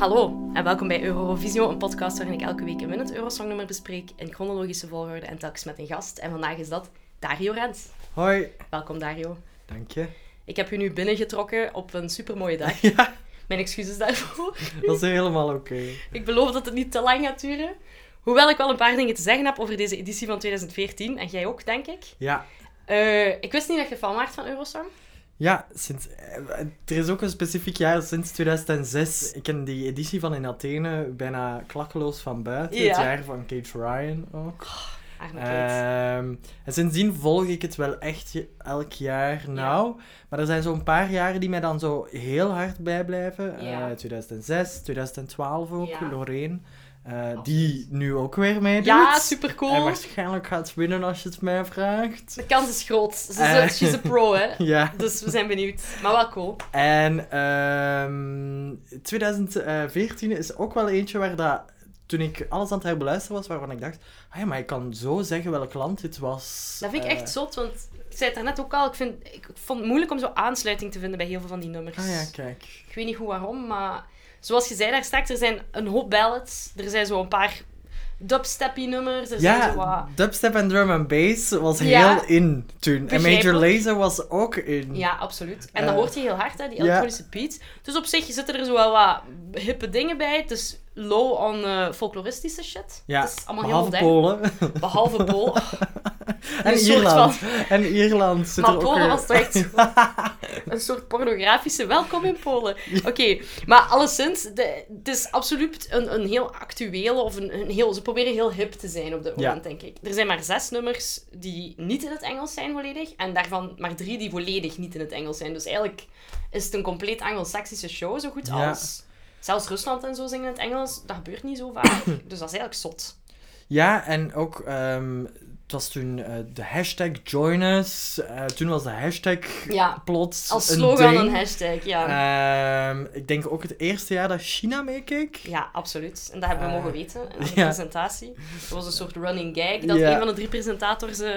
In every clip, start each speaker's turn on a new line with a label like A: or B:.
A: Hallo en welkom bij Eurovision, een podcast waarin ik elke week een winnend Eurosongnummer bespreek in chronologische volgorde en telkens met een gast. En vandaag is dat Dario Rens.
B: Hoi,
A: Welkom Dario.
B: dank je.
A: Ik heb je nu binnengetrokken op een supermooie dag.
B: Ja,
A: Mijn excuses daarvoor.
B: dat is helemaal oké.
A: Ik beloof dat het niet te lang gaat duren. Hoewel ik wel een paar dingen te zeggen heb over deze editie van 2014. En jij ook, denk ik.
B: Ja.
A: Eh, ik wist niet dat je fan waart van Eurosong.
B: ja, sinds, eh, er is ook een specifiek jaar, sinds 2006. Ik ken die editie van in Athene bijna klakkeloos van buiten.
A: Ja.
B: Het jaar van Kate Ryan ook.
A: Arme kind.
B: Ehm, en sindsdien volg ik het wel echt je- elk jaar nauw. Maar er zijn zo'n paar jaren die mij dan zo heel hard bijblijven.
A: Ja.
B: Eh, 2006, 2012 ook,
A: Ja.
B: Lorraine. eh, die nu ook weer meedoet.
A: Ja, supercool.
B: En waarschijnlijk gaat winnen als je het mij vraagt.
A: De kans is groot. Ze is,
B: Eh.
A: she's a pro, hè.
B: Ja,
A: Dus we zijn benieuwd. Maar wel cool.
B: en ehm, 2014 is ook wel eentje waar dat, toen ik alles aan het herbeluisteren was, waarvan ik dacht, ah ja, maar ik kan zo zeggen welk land dit was.
A: Dat vind ik
B: Eh,
A: echt zot, want ik zei het daarnet ook al. Ik, vind, ik vond het moeilijk om zo aansluiting te vinden bij heel veel van die nummers.
B: Ah ja, kijk.
A: Ik weet niet hoe waarom, maar zoals je zei daar straks, er zijn een hoop ballads. Er zijn zo een paar dubsteppy nummers. Er zijn zo wat...
B: Ja, dubstep en drum and bass was
A: Ja.
B: heel in toen. En Major
A: Begrijpelijk.
B: Lazer was ook in.
A: Ja, absoluut. En
B: Eh,
A: dat hoort je heel hard, hè, die
B: ja.
A: elektronische beats. Dus op zich zitten er zo wel wat hippe dingen bij. Het is low on eh, folkloristische shit.
B: Ja,
A: het is allemaal heel
B: behalve
A: modern.
B: Polen.
A: Behalve Polen.
B: en
A: Een soort
B: Ierland. En Ierland zit
A: Maar
B: er ook
A: Polen
B: weer-
A: was toch echt zo- een soort pornografische welkom in Polen. Oké, maar alleszins, de, het is absoluut een, een heel actuele of een, een heel... Ze proberen heel hip te zijn op dit
B: Ja.
A: moment, denk ik. Er zijn maar zes nummers die niet in het Engels zijn volledig. En daarvan maar drie die volledig niet in het Engels zijn. Dus eigenlijk is het een compleet Anglo-Saxische show, zo goed
B: Ja.
A: als... Zelfs Rusland en zo zingen in het Engels. Dat gebeurt niet zo vaak. dus dat is eigenlijk zot.
B: Ja, en ook, ehm, het was toen eh, de hashtag join us. Eh, toen was de hashtag
A: Ja,
B: plots
A: Als
B: een
A: slogan
B: ding. Eh,
A: een hashtag, ja.
B: Ehm, ik denk ook het eerste jaar dat China meekeek.
A: Ja, absoluut. En dat hebben we
B: Eh,
A: mogen weten in de
B: ja.
A: presentatie. Dat was een soort running gag, dat
B: Ja.
A: een van de drie presentators eh,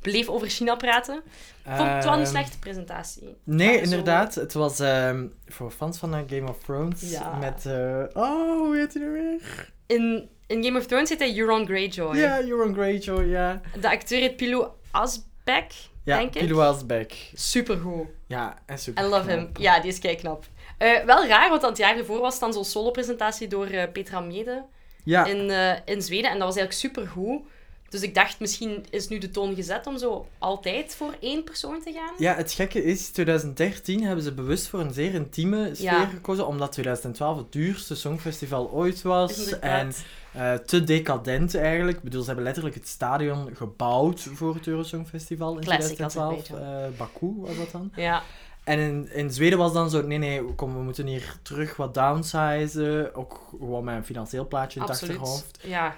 A: bleef over China praten. Ik vond het wel niet
B: Ehm,
A: slechte presentatie.
B: Nee,
A: Maar zo-
B: inderdaad. Het was ehm, voor fans van eh, Game of Thrones
A: Ja.
B: met... eh, oh, hoe heet hij nu weer?
A: In, in Game of Thrones heet hij Euron Greyjoy.
B: Ja, Euron Greyjoy, ja.
A: De acteur heet Pilou Asbeck,
B: Ja,
A: denk ik.
B: Pilo Asbeck.
A: Supergoed.
B: Ja, en super.
A: I love him. Ja, die is keiknap. knap. Eh, wel raar, want het jaar ervoor was dan zo'n solo-presentatie door eh, Petra Mede.
B: Ja,
A: in, eh, in Zweden. En dat was eigenlijk supergoed. Dus ik dacht, misschien is nu de toon gezet om zo altijd voor één persoon te gaan.
B: Ja, het gekke is, 2013 hebben ze bewust voor een zeer intieme sfeer
A: Ja.
B: gekozen, omdat 2012 het duurste songfestival ooit was. En
A: Inderdaad.
B: eh, te decadent eigenlijk. Ik bedoel, ze hebben letterlijk het stadion gebouwd voor het Eurosongfestival in
A: Classic was het
B: 2012. Eh, Baku was dat dan.
A: Ja,
B: En in, in Zweden was dan zo, nee, nee, kom, we moeten hier terug wat downsizen. Ook gewoon met een financieel plaatje in het
A: absoluut.
B: achterhoofd.
A: Ja.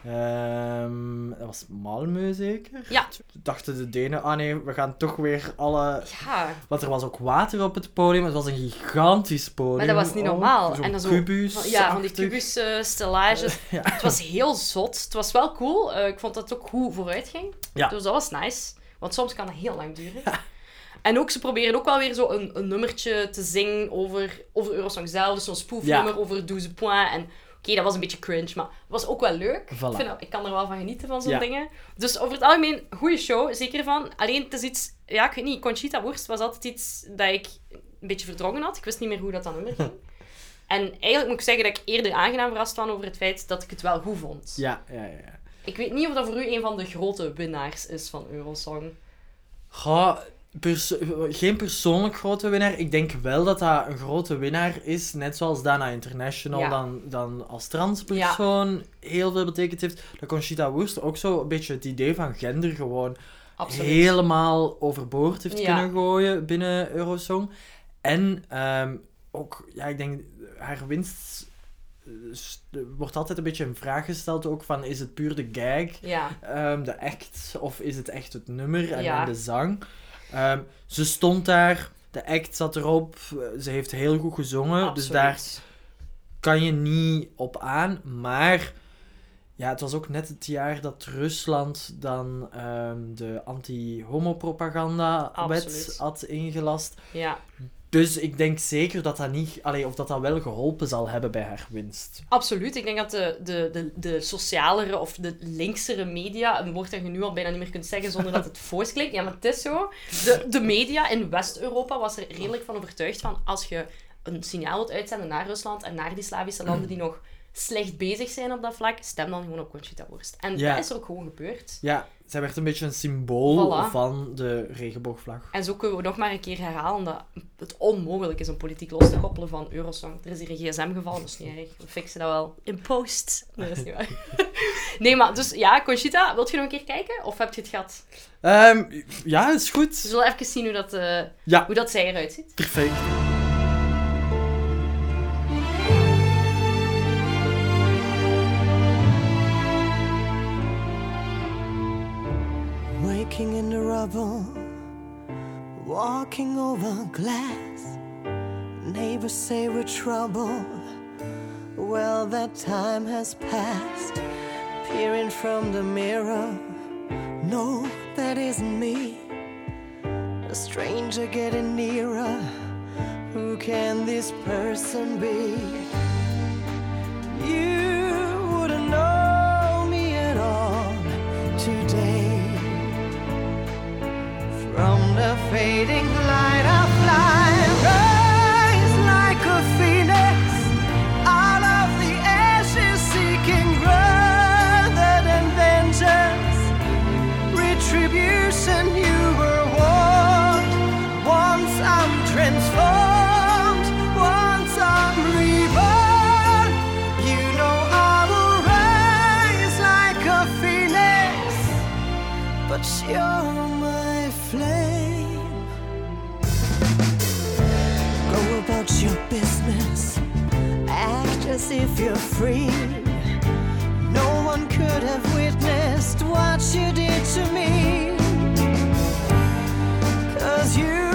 B: Ehm, dat was Malmö zeker?
A: Ja.
B: Dachten de Denen, ah nee, we gaan toch weer alle
A: ja,
B: want er was ook water op het podium. Het was een gigantisch podium.
A: maar dat was niet
B: ook.
A: normaal.
B: Zo'n
A: en dan zo,
B: kubus.
A: van- ja, van die
B: achtig.
A: kubus eh, stellages.
B: ja.
A: Het was heel zot. Het was wel cool. Eh, ik vond dat het ook goed vooruit ging.
B: Ja.
A: Dus dat was nice. Want soms kan het heel lang duren. En ook, ze proberen ook wel weer zo een, een nummertje te zingen over, over Eurosong zelf. Dus zo'n spoofnummer over 12 points. En oké, dat was een beetje cringe, maar het was ook wel leuk.
B: Voilà.
A: Ik, vind dat- ik kan er wel van genieten van zo'n
B: Ja.
A: dingen. Dus over het algemeen, goede show, zeker van. Alleen, het is iets... Ja, ik weet niet, Conchita Wurst was altijd iets dat ik een beetje verdrongen had. Ik wist niet meer hoe dat dan nummer ging. En eigenlijk moet ik zeggen dat ik eerder aangenaam verrast was over het feit dat ik het wel goed vond.
B: Ja, ja, ja, ja.
A: Ik weet niet of dat voor u een van de grote winnaars is van Eurosong.
B: Goh, pers- geen persoonlijk grote winnaar. Ik denk wel dat dat een grote winnaar is. Net zoals Dana International
A: Ja.
B: dan, dan als transpersoon heel veel betekend heeft. Dat Conchita Wurst ook zo een beetje het idee van gender gewoon
A: Absoluut.
B: helemaal overboord heeft
A: Ja.
B: kunnen gooien binnen Eurosong. En ehm, ook, ja, ik denk, haar winst eh, s- wordt altijd een beetje in vraag gesteld ook van, is het puur de gag,
A: Ja.
B: ehm, de act, of is het echt het nummer en,
A: Ja.
B: en de zang? Ehm, ze stond daar, de act zat erop, eh, ze heeft heel goed gezongen, dus daar
A: absoluut.
B: kan je niet op aan. Maar ja, het was ook net het jaar dat Rusland dan ehm, de anti-homopropagandawet
A: Absoluut.
B: had ingelast.
A: Ja.
B: Dus ik denk zeker dat dat niet, allee, of dat dat wel geholpen zal hebben bij haar winst.
A: Absoluut. Ik denk dat de, de, de, de socialere of de linksere media, een woord dat je nu al bijna niet meer kunt zeggen zonder dat het voos klinkt. Ja, maar het is zo. De, de media in West-Europa was er redelijk van overtuigd van als je een signaal wilt uitzenden naar Rusland en naar die Slavische landen die nog slecht bezig zijn op dat vlak, stem dan gewoon op Conchita Wurst. En
B: Ja.
A: dat is er ook gewoon gebeurd.
B: Ja, zij werd een beetje een symbool
A: Voilà.
B: van de regenboogvlag.
A: En zo kunnen we nog maar een keer herhalen dat het onmogelijk is om politiek los te koppelen van Eurosong. Er is hier een gsm gevallen, dat is niet erg. We fixen dat wel in post. Nee, dat is niet waar. Nee, maar dus ja, Conchita, wilt je nog een keer kijken? Of heb je het gehad?
B: Ehm, ja, is goed.
A: We zullen even zien hoe dat, eh,
B: Ja.
A: hoe dat zij eruit ziet.
B: Perfect.
C: Waking in the rubble, walking over glass. Neighbors say we're trouble. Well, that time has passed. Peering from the mirror, no, that isn't me. A stranger getting nearer. Who can this person be? You wouldn't know me at all today. From the fading light I fly, rise like a phoenix out of the ashes, seeking rather than vengeance, retribution. You were warned. Once I'm transformed, once I'm reborn. You know I will rise like a phoenix but you're my flame. Go about your business, act as if you're free. No one could have witnessed what you did to me. Cause you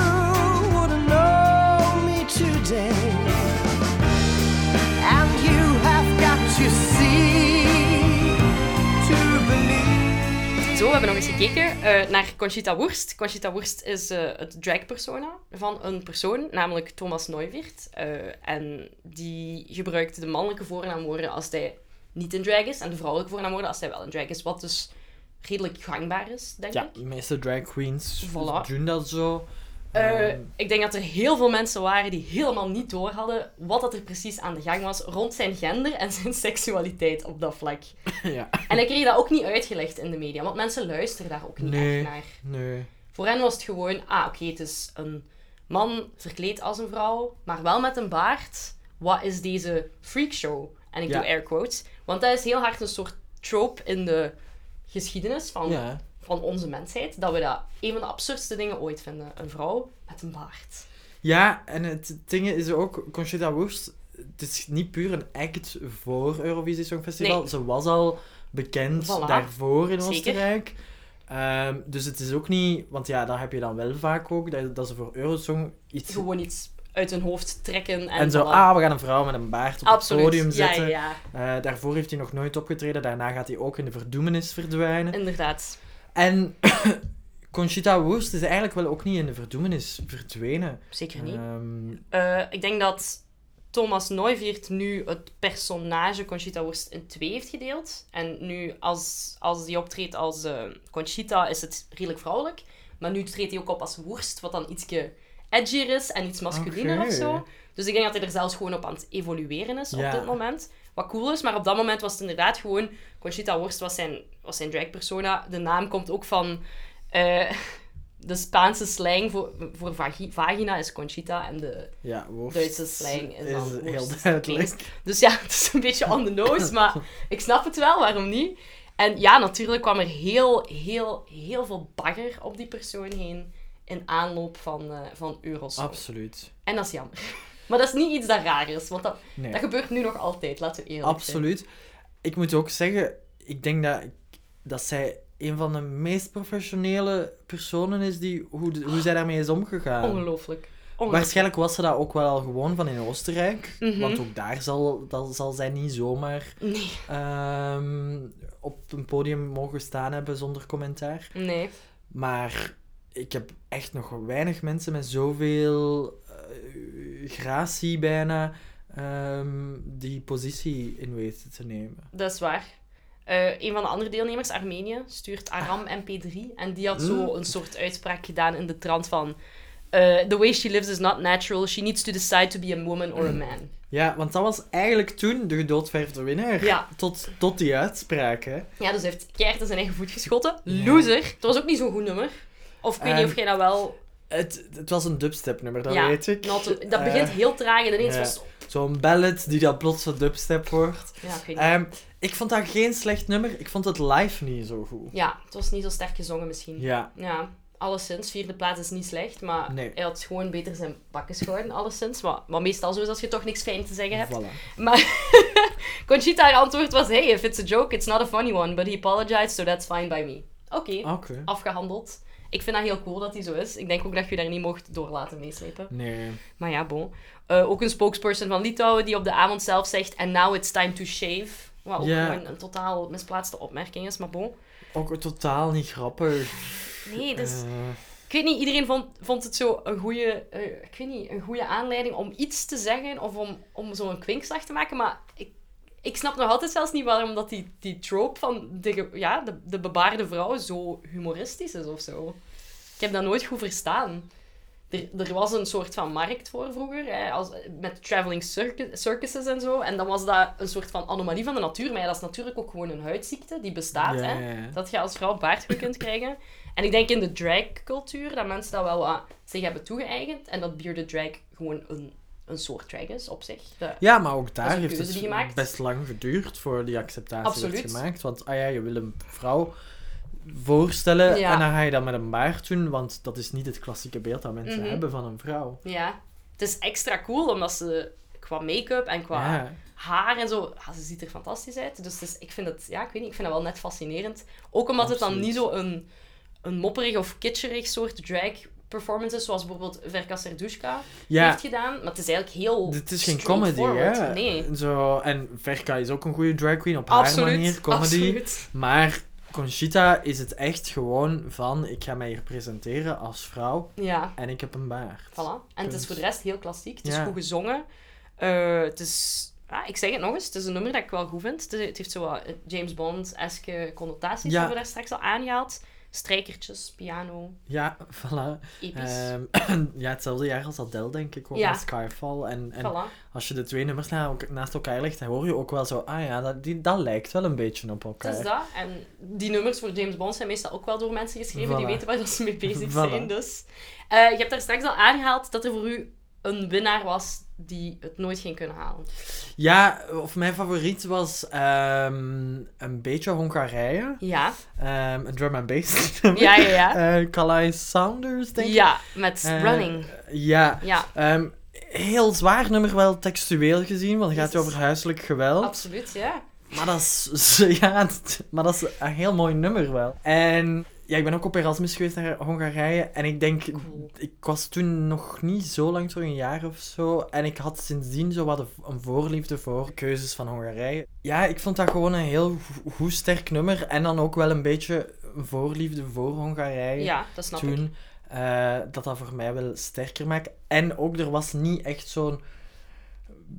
C: wouldn't know me today. And you have got to see to believe.
A: Zo, we hebben nog eens gekeken eh, naar Conchita Wurst. Conchita Wurst is eh, het drag-persona van een persoon, namelijk Thomas Neuwirth. Eh, en die gebruikt de mannelijke voornaamwoorden als hij niet in drag is en de vrouwelijke voornaamwoorden als hij wel in drag is, wat dus redelijk gangbaar is, denk
B: Ja,
A: ik.
B: de meeste drag queens
A: Voilà.
B: doen dat zo.
A: Eh,
B: Ehm,
A: ik denk dat er heel veel mensen waren die helemaal niet door hadden wat dat er precies aan de gang was rond zijn gender en zijn seksualiteit op dat vlak.
B: ja.
A: En ik kreeg dat ook niet uitgelegd in de media, want mensen luisteren daar ook niet
B: Nee.
A: echt naar.
B: Nee.
A: Voor hen was het gewoon, ah oké, het is een man verkleed als een vrouw, maar wel met een baard. Wat is deze freakshow? En ik
B: Ja.
A: doe air quotes, want dat is heel hard een soort trope in de geschiedenis van,
B: Ja.
A: van onze mensheid, dat we dat een van de absurdste dingen ooit vinden. Een vrouw met een baard.
B: Ja, en het ding is ook, Conchita Wurst, het is niet puur een act voor Eurovisie Songfestival.
A: Nee.
B: Ze was al bekend
A: Voilà.
B: daarvoor in
A: Zeker.
B: Oostenrijk. Ehm, dus het is ook niet, want ja, dat heb je dan wel vaak ook, dat, dat ze voor Eurosong iets...
A: Gewoon iets uit hun hoofd trekken en,
B: En zo,
A: voilà.
B: ah, we gaan een vrouw met een baard op
A: Absoluut.
B: het podium
A: ja,
B: zetten.
A: ja, ja,
B: Eh, daarvoor heeft hij nog nooit opgetreden, daarna gaat hij ook in de verdoemenis verdwijnen.
A: inderdaad.
B: En Conchita Wurst is eigenlijk wel ook niet in de verdoemenis verdwenen.
A: Zeker niet.
B: Ehm,
A: Eh, ik denk dat Thomas Neuwirth nu het personage Conchita Wurst in twee heeft gedeeld. En nu, als, als die optreedt als eh, Conchita, is het redelijk vrouwelijk. Maar nu treedt hij ook op als Wurst, wat dan ietsje edgier is en iets masculiner
B: Oké.
A: of zo. Dus ik denk dat hij er zelfs gewoon op aan het evolueren is
B: Ja.
A: op dit moment. Wat cool is, maar op dat moment was het inderdaad gewoon... Conchita Wurst was zijn, was zijn drag-persona. De naam komt ook van... eh, de Spaanse slang voor, voor vagi- vagina is Conchita en de
B: Ja, woord
A: Duitse slang is dan woord,
B: heel
A: dus klinkt.
B: duidelijk.
A: Dus ja, het is een beetje on the nose, maar ik snap het wel, waarom niet? En ja, natuurlijk kwam er heel, heel, heel veel bagger op die persoon heen in aanloop van, eh van Eurosong.
B: Absoluut.
A: En dat is jammer. Maar dat is niet iets dat raar is, want dat,
B: Nee.
A: dat gebeurt nu nog altijd, laten we eerlijk
B: Absoluut. Ik moet ook zeggen, ik denk dat, ik- dat zij een van de meest professionele personen is die hoe, de- hoe zij daarmee is omgegaan.
A: zijn. Ongelooflijk. Ongelooflijk.
B: Waarschijnlijk was ze dat ook wel al gewoon van in Oostenrijk.
A: Mhm.
B: Want ook daar zal, dat, zal zij niet zomaar
A: Nee,
B: ehm, op een podium mogen staan hebben zonder commentaar.
A: nee.
B: Maar ik heb echt nog weinig mensen met zoveel eh, gratie bijna ehm, die positie in weet te nemen.
A: Dat is waar. Eh, een van de andere deelnemers, Armenië, stuurt Aram
B: Ah.
A: MP3. En die had
B: Mm.
A: zo een soort uitspraak gedaan in de trant van... eh, the way she lives is not natural. She needs to decide to be a woman or a
B: Mm.
A: man.
B: Ja, want dat was eigenlijk toen de gedoodverfde winnaar.
A: Ja.
B: Tot, tot die uitspraak, hè.
A: Ja, dus hij heeft keihard in zijn eigen voet geschotten. Loser. Het was ook niet zo'n goed nummer. Of ik weet niet
B: Ehm,
A: of jij dat wel...
B: Het, het was een dubstep-nummer, dat
A: ja,
B: weet ik.
A: not a- dat begint heel traag en ineens
B: ja.
A: was...
B: Zo'n ballad die dan plots een dubstep wordt.
A: Ja, ik weet niet.
B: Ehm, ik vond dat geen slecht nummer. Ik vond het live niet zo goed.
A: Ja, het was niet zo sterk gezongen misschien.
B: Ja.
A: Ja, alleszins. Vierde plaats is niet slecht, maar
B: Nee.
A: hij had gewoon beter zijn bakjes gehouden, alleszins. Maar, maar meestal zo is als je toch niks fijn te zeggen hebt.
B: Voilà.
A: Maar Conchita, haar antwoord was... Hey, if it's a joke, it's not a funny one. But he apologized, so that's fine by me. Oké,
B: Oké.
A: afgehandeld. Ik vind dat heel cool dat hij zo is. Ik denk ook dat je daar niet mocht door laten meeslepen.
B: Nee.
A: Maar ja, bon. Eh, ook een spokesperson van Litouwen die op de avond zelf zegt... And now it's time to shave. Wat ook
B: Ja.
A: gewoon een totaal misplaatste opmerking is, maar bon.
B: Ook totaal niet grappig.
A: Nee, dus...
B: Eh,
A: Ik weet niet, iedereen vond, vond het zo een goede, ik weet niet, een goede aanleiding om iets te zeggen of om, om zo'n kwinkslag te maken. Maar ik, ik snap nog altijd zelfs niet waarom dat die, die trope van de, ge- ja, de, de bebaarde vrouw zo humoristisch is of zo. Ik heb dat nooit goed verstaan. Er, er was een soort van markt voor vroeger, hè, als, met traveling circu- circuses en zo. En dan was dat een soort van anomalie van de natuur. Maar ja, dat is natuurlijk ook gewoon een huidziekte die bestaat.
B: Ja,
A: hè.
B: ja, ja.
A: Dat je als vrouw baardgroei kunt krijgen. En ik denk in de dragcultuur dat mensen dat wel wat zich hebben toegeëigend. En dat bearded drag gewoon een, een soort drag is op zich. De-
B: Ja, maar ook
A: Dat is
B: daar
A: een
B: heeft
A: keuze
B: het
A: die gemaakt.
B: best lang geduurd voor die acceptatie werd
A: Absoluut.
B: gemaakt. Want ah ja, je wil een vrouw voorstellen
A: Ja.
B: en dan ga je dat met een baard doen, want dat is niet het klassieke beeld dat mensen
A: Mhm.
B: hebben van een vrouw.
A: Ja. Het is extra cool omdat ze qua make-up en qua
B: Ja.
A: haar en zo, ah, ze ziet er fantastisch uit. Dus, het is- ik vind het, ja, ik weet niet, ik vind dat wel net fascinerend. Ook omdat het dan
B: Absoluut.
A: niet zo een, een mopperig of kitscherig soort drag performance is, zoals bijvoorbeeld Verka Serdushka
B: ja.
A: heeft gedaan. Maar het is eigenlijk heel
B: Dit is geen comedy,
A: straightforward.
B: hè?
A: Nee.
B: Zo, en Verka is ook een goede drag queen op
A: Absoluut.
B: haar manier, comedy.
A: Absoluut.
B: Maar Conchita is het echt gewoon van, ik ga mij hier presenteren als vrouw
A: Ja,
B: en ik heb een baard.
A: voilà. En het is
B: Punt.
A: voor de rest heel klassiek. Het is
B: Dus- Ja.
A: goed gezongen. Eh, het is... Ah, ik zeg het nog eens, het is een nummer dat ik wel goed vind. Het, is- het heeft zo wat eh, James Bond-eske connotaties,
B: Ja.
A: hebben we daar straks al aangehaald. Strijkertjes, piano,
B: Ja, voilà.
A: episch.
B: Ehm, ja, hetzelfde jaar als Adele, denk ik, ook
A: Dus- Ja.
B: met Skyfall. En, en
A: voilà.
B: als je de twee nummers na elk- naast elkaar legt, dan hoor je ook wel zo, ah ja, dat, die, dat lijkt wel een beetje op elkaar.
A: Het is Dus dat. En die nummers voor James Bond zijn meestal ook wel door mensen geschreven die
B: Voilà.
A: weten waar dat ze mee bezig
B: Voilà.
A: zijn. Dus. Eh, je hebt daar straks al aangehaald dat er voor u een winnaar was die het nooit ging kunnen halen.
B: Ja, of mijn favoriet was ehm, een beetje Hongarije.
A: Ja,
B: Ehm, een drum and bass.
A: ja, ja. ja.
B: Eh, Kalai Saunders, denk ik.
A: ja, met
B: Eh,
A: Running.
B: Ja.
A: Ja,
B: Ehm, heel zwaar nummer wel textueel gezien, want het gaat
A: Jezus.
B: over huiselijk geweld.
A: absoluut, ja.
B: Maar dat is, ja, het- maar dat is een heel mooi nummer wel. En ja, ik ben ook op Erasmus geweest naar Hongarije. En ik denk,
A: Cool.
B: ik was toen nog niet zo lang, zo een jaar of zo. En ik had sindsdien zo wat een- een voorliefde voor keuzes van Hongarije. Ja, ik vond dat gewoon een heel go- goed sterk nummer. En dan ook wel een beetje een voorliefde voor Hongarije
A: Ja, dat snap ik.
B: toen. eh, dat dat voor mij wel sterker maakt. En ook, er was niet echt zo'n...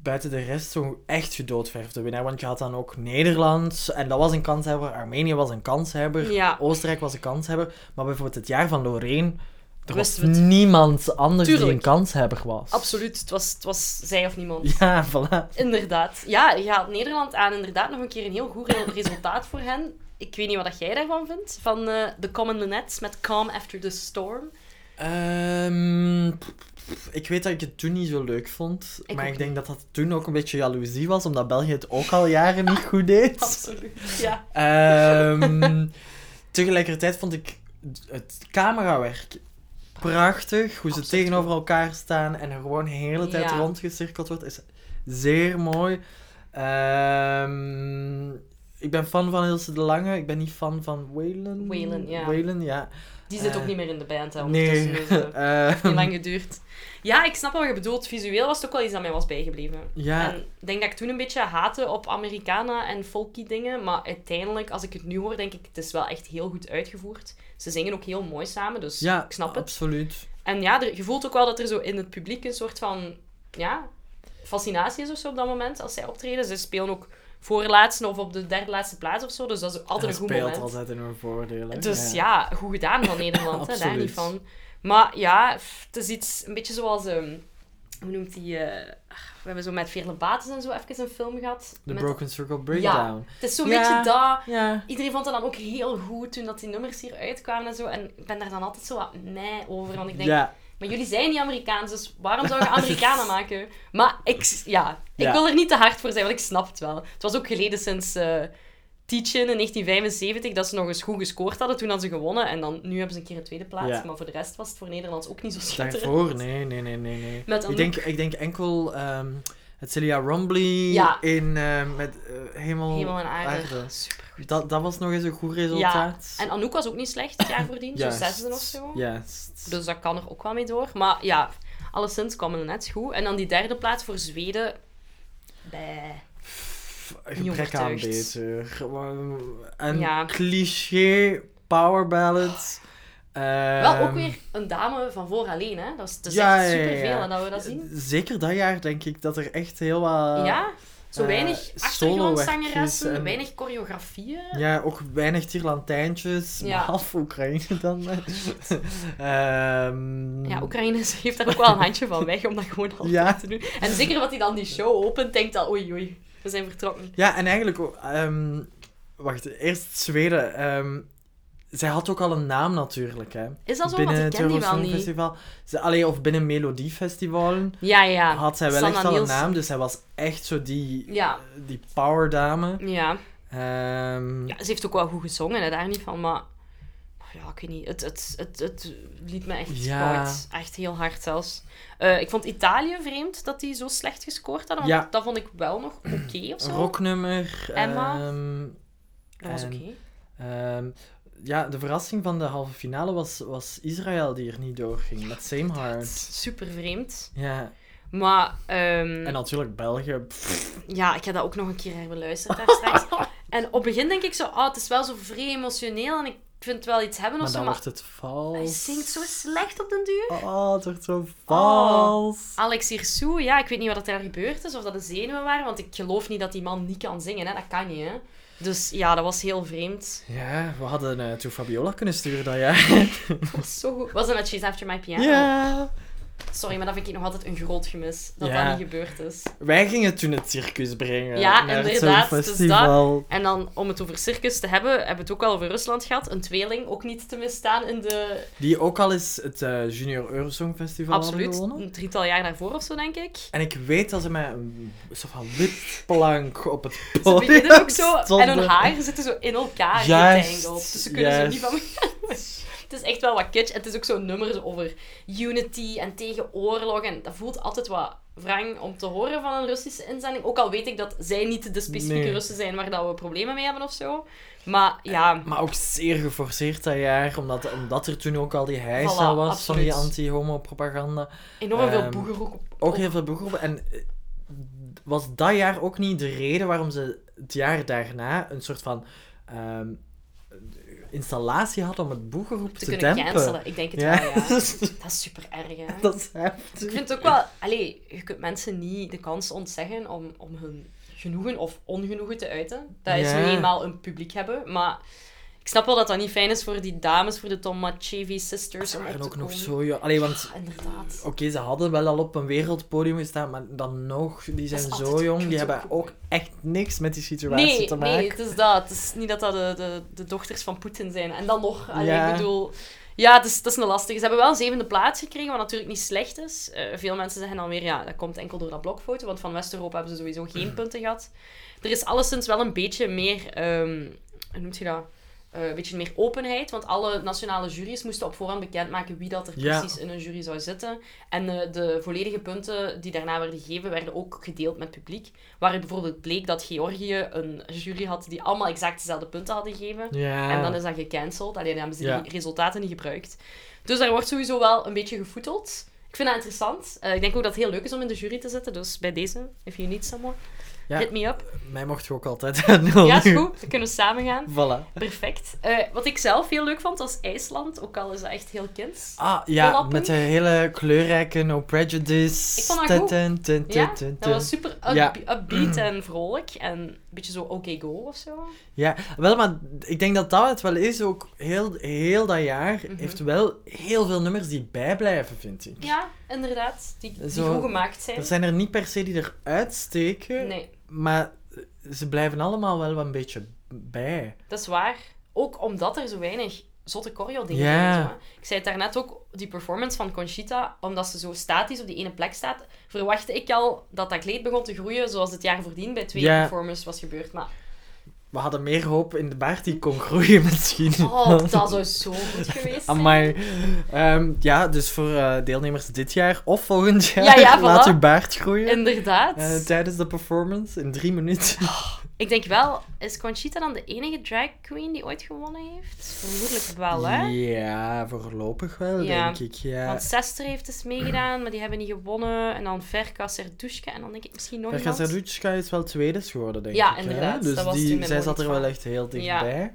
B: Buiten de rest zo'n echt gedoodverfde winnaar. Want je had dan ook Nederland. En dat was een kanshebber. Armenië was een kanshebber.
A: Ja.
B: Oostenrijk was een kanshebber. Maar bijvoorbeeld het jaar van Loreen... Er
A: Wisten
B: was
A: we het.
B: niemand anders die
A: Tuurlijk.
B: een kanshebber was.
A: Absoluut, het was, het was zij of niemand.
B: Ja, voilà.
A: Inderdaad. Ja, je haalt Nederland aan. Inderdaad, nog een keer een heel goed re- resultaat voor hen. Ik weet niet wat dat jij daarvan vindt. Van eh, The Common Lunettes met Calm After the Storm.
B: Ehm, pff, pff, ik weet dat ik het toen niet zo leuk vond.
A: Ik
B: maar
A: ook
B: ik denk dat dat toen ook een beetje jaloezie was. Omdat België het ook al jaren niet goed deed.
A: Absoluut, ja.
B: Ehm, tegelijkertijd vond ik het camerawerk prachtig. Hoe ze
A: Absoluut
B: tegenover elkaar staan en er gewoon de hele tijd
A: Ja.
B: rondgecirkeld wordt, is zeer mooi. Ehm, ik ben fan van Ilse de Lange. Ik ben niet fan van Waylon.
A: Waylon, ja.
B: Waylon, ja.
A: Die zit ook
B: Eh,
A: niet meer in de band, hè, ondertussen.
B: Nee.
A: Dus, eh,
B: Ehm,
A: niet lang geduurd. Ja, ik snap wat je bedoelt. Visueel was het ook wel iets dat mij was bijgebleven.
B: ja,
A: En ik denk dat ik toen een beetje haatte op Americana en folky dingen. Maar uiteindelijk, als ik het nu hoor, denk ik, het is wel echt heel goed uitgevoerd. Ze zingen ook heel mooi samen, dus
B: ja,
A: ik snap het.
B: absoluut.
A: En ja, er- je voelt ook wel dat er zo in het publiek een soort van ja, fascinatie is of zo op dat moment als zij optreden. Ze spelen ook voorlaatste of op de derde laatste plaats of zo. Dus dat is altijd
B: dat
A: een goed
B: speelt
A: moment.
B: altijd in hun voordeel. hè.
A: Dus ja. goed gedaan van Nederland, hè, daar
B: Absoluut.
A: niet van. Maar ja, pff, het is iets, een beetje zoals, ehm, hoe noemt die, eh, we hebben zo met Veerle Bates en zo even een film gehad.
B: De
A: met...
B: Broken Circle Breakdown.
A: Het is zo'n
B: Ja.
A: beetje dat.
B: Ja.
A: Iedereen vond dat dan ook heel goed toen dat die nummers hier uitkwamen en zo. En ik ben daar dan altijd zo wat meh over, want ik denk,
B: Ja.
A: maar jullie zijn niet Amerikaans, dus waarom zou je Amerikanen maken? Maar ik, s- ja, ik
B: Ja.
A: wil er niet te hard voor zijn, want ik snap het wel. Het was ook geleden sinds eh Teachin in 1975 dat ze nog eens goed gescoord hadden. Toen hadden ze gewonnen en dan, nu hebben ze een keer een tweede plaats.
B: Ja.
A: Maar voor de rest was het voor Nederlands ook niet zo schitterend.
B: Daarvoor? Nee, nee, nee, nee. nee.
A: Met
B: ik,
A: Anouk.
B: denk, ik denk enkel ehm het Celia Rumbly
A: Ja.
B: in eh, met, eh, Hemel,
A: Hemel en aarde.
B: Aarde.
A: Super.
B: Dat, dat was nog eens een goed resultaat.
A: En Anouk was ook niet slecht het jaar voordien, zo
B: Juist.
A: zesde of zo.
B: Juist.
A: Dus dat kan er ook wel mee door. Maar ja, alleszins kwam het net goed. En dan die derde plaats voor Zweden. Bij.
B: Pff,
A: niet
B: Gebrek aan
A: overtuigd.
B: beter. Gewoon Een
A: Ja.
B: cliché power ballad. Ehm,
A: Oh. Wel ook weer een dame van voor alleen, hè? Dat is, dat is
B: ja,
A: echt
B: ja, ja,
A: superveel
B: ja.
A: hè, dat we dat zien.
B: Zeker dat jaar denk ik dat er echt heel wat...
A: ja, zo
B: eh,
A: weinig
B: solo-werkjes
A: achtergrondzangeressen,
B: en-
A: weinig choreografieën.
B: Ja, ook weinig Tierlantijntjes,
A: Ja.
B: behalve Oekraïne dan. Ehm,
A: Ja, Oekraïne is- heeft daar ook wel een handje van weg om dat gewoon altijd
B: Ja.
A: te doen. En zeker wat hij dan die show opent, denkt dat oei oei, we zijn vertrokken.
B: ja, en eigenlijk... ook, ehm, wacht, eerst Zweden. ehm, zij had ook al een naam natuurlijk, hè.
A: Is dat zo?
B: binnen
A: Want ik ken die wel niet.
B: Festival. Ze, allee, of binnen Melodiefestivalen
A: Ja, ja.
B: had zij wel
A: Sanna
B: echt al een
A: Nielsen.
B: naam. Dus zij was echt zo die,
A: Ja.
B: die powerdame.
A: Ja.
B: Ehm,
A: Ja, ze heeft ook wel goed gezongen, hè, daar niet van, maar... maar Ja, ik weet niet. Het, het, het, het liet me echt
B: Ja.
A: koud. Echt heel hard zelfs. Eh, ik vond Italië vreemd dat die zo slecht gescoord hadden, want
B: Ja.
A: dat vond ik wel nog oké of
B: een
A: zo.
B: rocknummer.
A: Emma.
B: ehm,
A: dat was
B: en-
A: oké.
B: Ehm, ja, de verrassing van de halve finale was, was Israël die er niet doorging met Seamhard.
A: Super vreemd.
B: Ja,
A: Maar ehm,
B: en natuurlijk België. Pff,
A: ja, ik heb dat ook nog een keer herbeluisterd daar straks. en op het begin denk ik zo, ah het is wel zo vrij emotioneel en ik vind het wel iets hebben of
B: maar
A: zo,
B: dan
A: maar
B: wordt het
A: hij
B: vals.
A: zingt zo slecht op den duur.
B: Oh, het wordt zo vals.
A: Alex Hirsou, ja, ik weet niet wat er gebeurd is, of dat de zenuwen waren, want ik geloof niet dat die man niet kan zingen, hè. Dat kan niet, hè. Dus ja, dat was heel vreemd.
B: Ja, we hadden eh toe Fabiola kunnen sturen dat jaar.
A: Dat was zo goed. Was dat met She's After My Piano?
B: ja.
A: Sorry, maar dat vind ik nog altijd een groot gemis, dat
B: Ja.
A: dat niet gebeurd is.
B: Wij gingen toen het circus brengen.
A: Ja,
B: naar
A: inderdaad,
B: Het
A: dus
B: Songfestival.
A: En dan, om het over circus te hebben, hebben we het ook al over Rusland gehad. Een tweeling, ook niet te misstaan in de...
B: Die ook al eens het eh, Junior Eurosong Festival hadden
A: absoluut, Mm.
B: gewonnen.
A: een drietal jaar daarvoor of zo, denk ik.
B: En ik weet dat ze met een soort van wipplank op het
A: Ze
B: podium
A: beginnen ook zo, en hun
B: stonden.
A: haar zitten zo in elkaar
B: Juist,
A: getangeld. Dus ze kunnen zo
B: juist.
A: niet van Het is echt wel wat kitsch. Het is ook zo'n nummer zo over unity en tegen oorlog. En dat voelt altijd wat wrang om te horen van een Russische inzending. Ook al weet ik dat zij niet de specifieke
B: Nee.
A: Russen zijn waar dat we problemen mee hebben of zo. Maar ja,
B: Maar ook zeer geforceerd dat jaar, omdat, omdat er toen ook al die heisa
A: Voilà,
B: was van die
A: absoluut.
B: anti-homo-propaganda.
A: enorm veel
B: Ehm,
A: boegeroek op.
B: Ook heel veel beroepen. En eh, was dat jaar ook niet de reden waarom ze het jaar daarna een soort van ehm, installatie hadden om het boegeroep
A: te
B: te,
A: kunnen
B: dempen?
A: cancelen. Ik denk het
B: Ja,
A: wel, ja. Dat is super erg, hè.
B: dat is
A: Ik
B: heftig.
A: vind het ook wel... Allee, je kunt mensen niet de kans ontzeggen om, om hun genoegen of ongenoegen te uiten. Dat is
B: Ja.
A: nu eenmaal een publiek hebben, maar... Ik snap wel dat dat niet fijn is voor die dames, voor de Tom Machevi sisters.
B: Ze
A: om op
B: waren
A: te
B: ook nog
A: komen.
B: zo jong. Allee, want
A: Ah, Inderdaad.
B: oké, ze hadden wel al op een wereldpodium gestaan, maar dan nog, die
A: is
B: zijn zo
A: altijd
B: jong, die
A: kut
B: hebben
A: opgegroeid.
B: ook echt niks met die situatie
A: Nee,
B: te maken.
A: nee, het is dat. Het is niet dat dat de, de, de dochters van Poetin zijn. En dan nog, allee,
B: Ja.
A: ik bedoel... Ja, het is, het is een lastige. Ze hebben wel een zevende plaats gekregen, wat natuurlijk niet slecht is. Eh, veel mensen zeggen dan weer, ja, dat komt enkel door dat blokfoto, want van West-Europa hebben ze sowieso
B: Mm.
A: geen punten gehad. Er is alleszins wel een beetje meer... ehm, hoe noemt je dat? Eh, een beetje meer openheid, want alle nationale juries moesten op voorhand bekendmaken wie dat er
B: Ja.
A: precies in een jury zou zitten. En eh, de volledige punten die daarna werden gegeven, werden ook gedeeld met publiek. Waaruit bijvoorbeeld bleek dat Georgië een jury had die allemaal exact dezelfde punten hadden gegeven.
B: Ja.
A: En dan is dat gecanceld. Alleen dan hebben ze
B: Ah. Ja.
A: die resultaten niet gebruikt. Dus daar wordt sowieso wel een beetje gevoeteld. Ik vind dat interessant. Eh, ik denk ook dat het heel leuk is om in de jury te zitten. Dus bij deze, if you need someone.
B: Ja. Oh.
A: Hit me up.
B: Mij mocht je ook altijd aan nul.
A: Ja, is
B: nu.
A: goed. Dan kunnen we samen gaan.
B: Voilà.
A: Perfect. Eh, wat ik zelf heel leuk vond, was IJsland. Ook al is dat echt heel kinds.
B: Ah, ja,
A: Lappen.
B: met de hele kleurrijke No Prejudice.
A: Ik vond dat goed.
B: Tun, tun, tun,
A: Ja,
B: tun,
A: dat
B: tun.
A: was super up-
B: Ja.
A: upbeat en vrolijk. En een beetje zo oké go of zo.
B: Ja, wel, maar ik denk dat dat het wel is. Ook heel, heel dat jaar
A: Mhm.
B: heeft wel heel veel nummers die bijblijven, vind ik.
A: Ja, inderdaad. Die, die
B: Zo-
A: goed gemaakt zijn.
B: Er zijn er niet per se die eruit steken,
A: Nee,
B: maar ze blijven allemaal wel een beetje bij.
A: dat is waar. Ook omdat er zo weinig zotte choreo dingen
B: Ja.
A: zijn. zo, hè. Ik zei het daarnet ook, die performance van Conchita, omdat ze zo statisch op die ene plek staat, verwachtte ik al dat dat kleed begon te groeien zoals het jaar voordien bij twee
B: Ja.
A: performances was gebeurd. Maar
B: We hadden meer hoop in de baard die kon groeien, misschien.
A: oh, dat zou zo goed geweest zijn.
B: Amai. Ehm, ja, dus voor eh, deelnemers dit jaar of volgend jaar,
A: Ja, ja,
B: laat
A: voilà.
B: uw baard groeien
A: Inderdaad.
B: eh, tijdens de performance in drie minuten.
A: Ik denk wel, is Conchita dan de enige drag queen die ooit gewonnen heeft? Vermoedelijk Oh, wel, hè?
B: Ja, voorlopig wel,
A: Ja.
B: denk ik. Ja.
A: Want Sester heeft dus meegedaan, maar die hebben niet gewonnen. En dan Verka Serdushka en dan denk ik misschien nog
B: Erka
A: iemand.
B: Serduchka is wel tweede geworden, denk
A: Ja,
B: ik. hè?
A: inderdaad,
B: Dus
A: dat was toen
B: die,
A: mijn
B: zij zat er
A: moeilijk
B: wel
A: van.
B: echt heel
A: Ja.
B: dichtbij.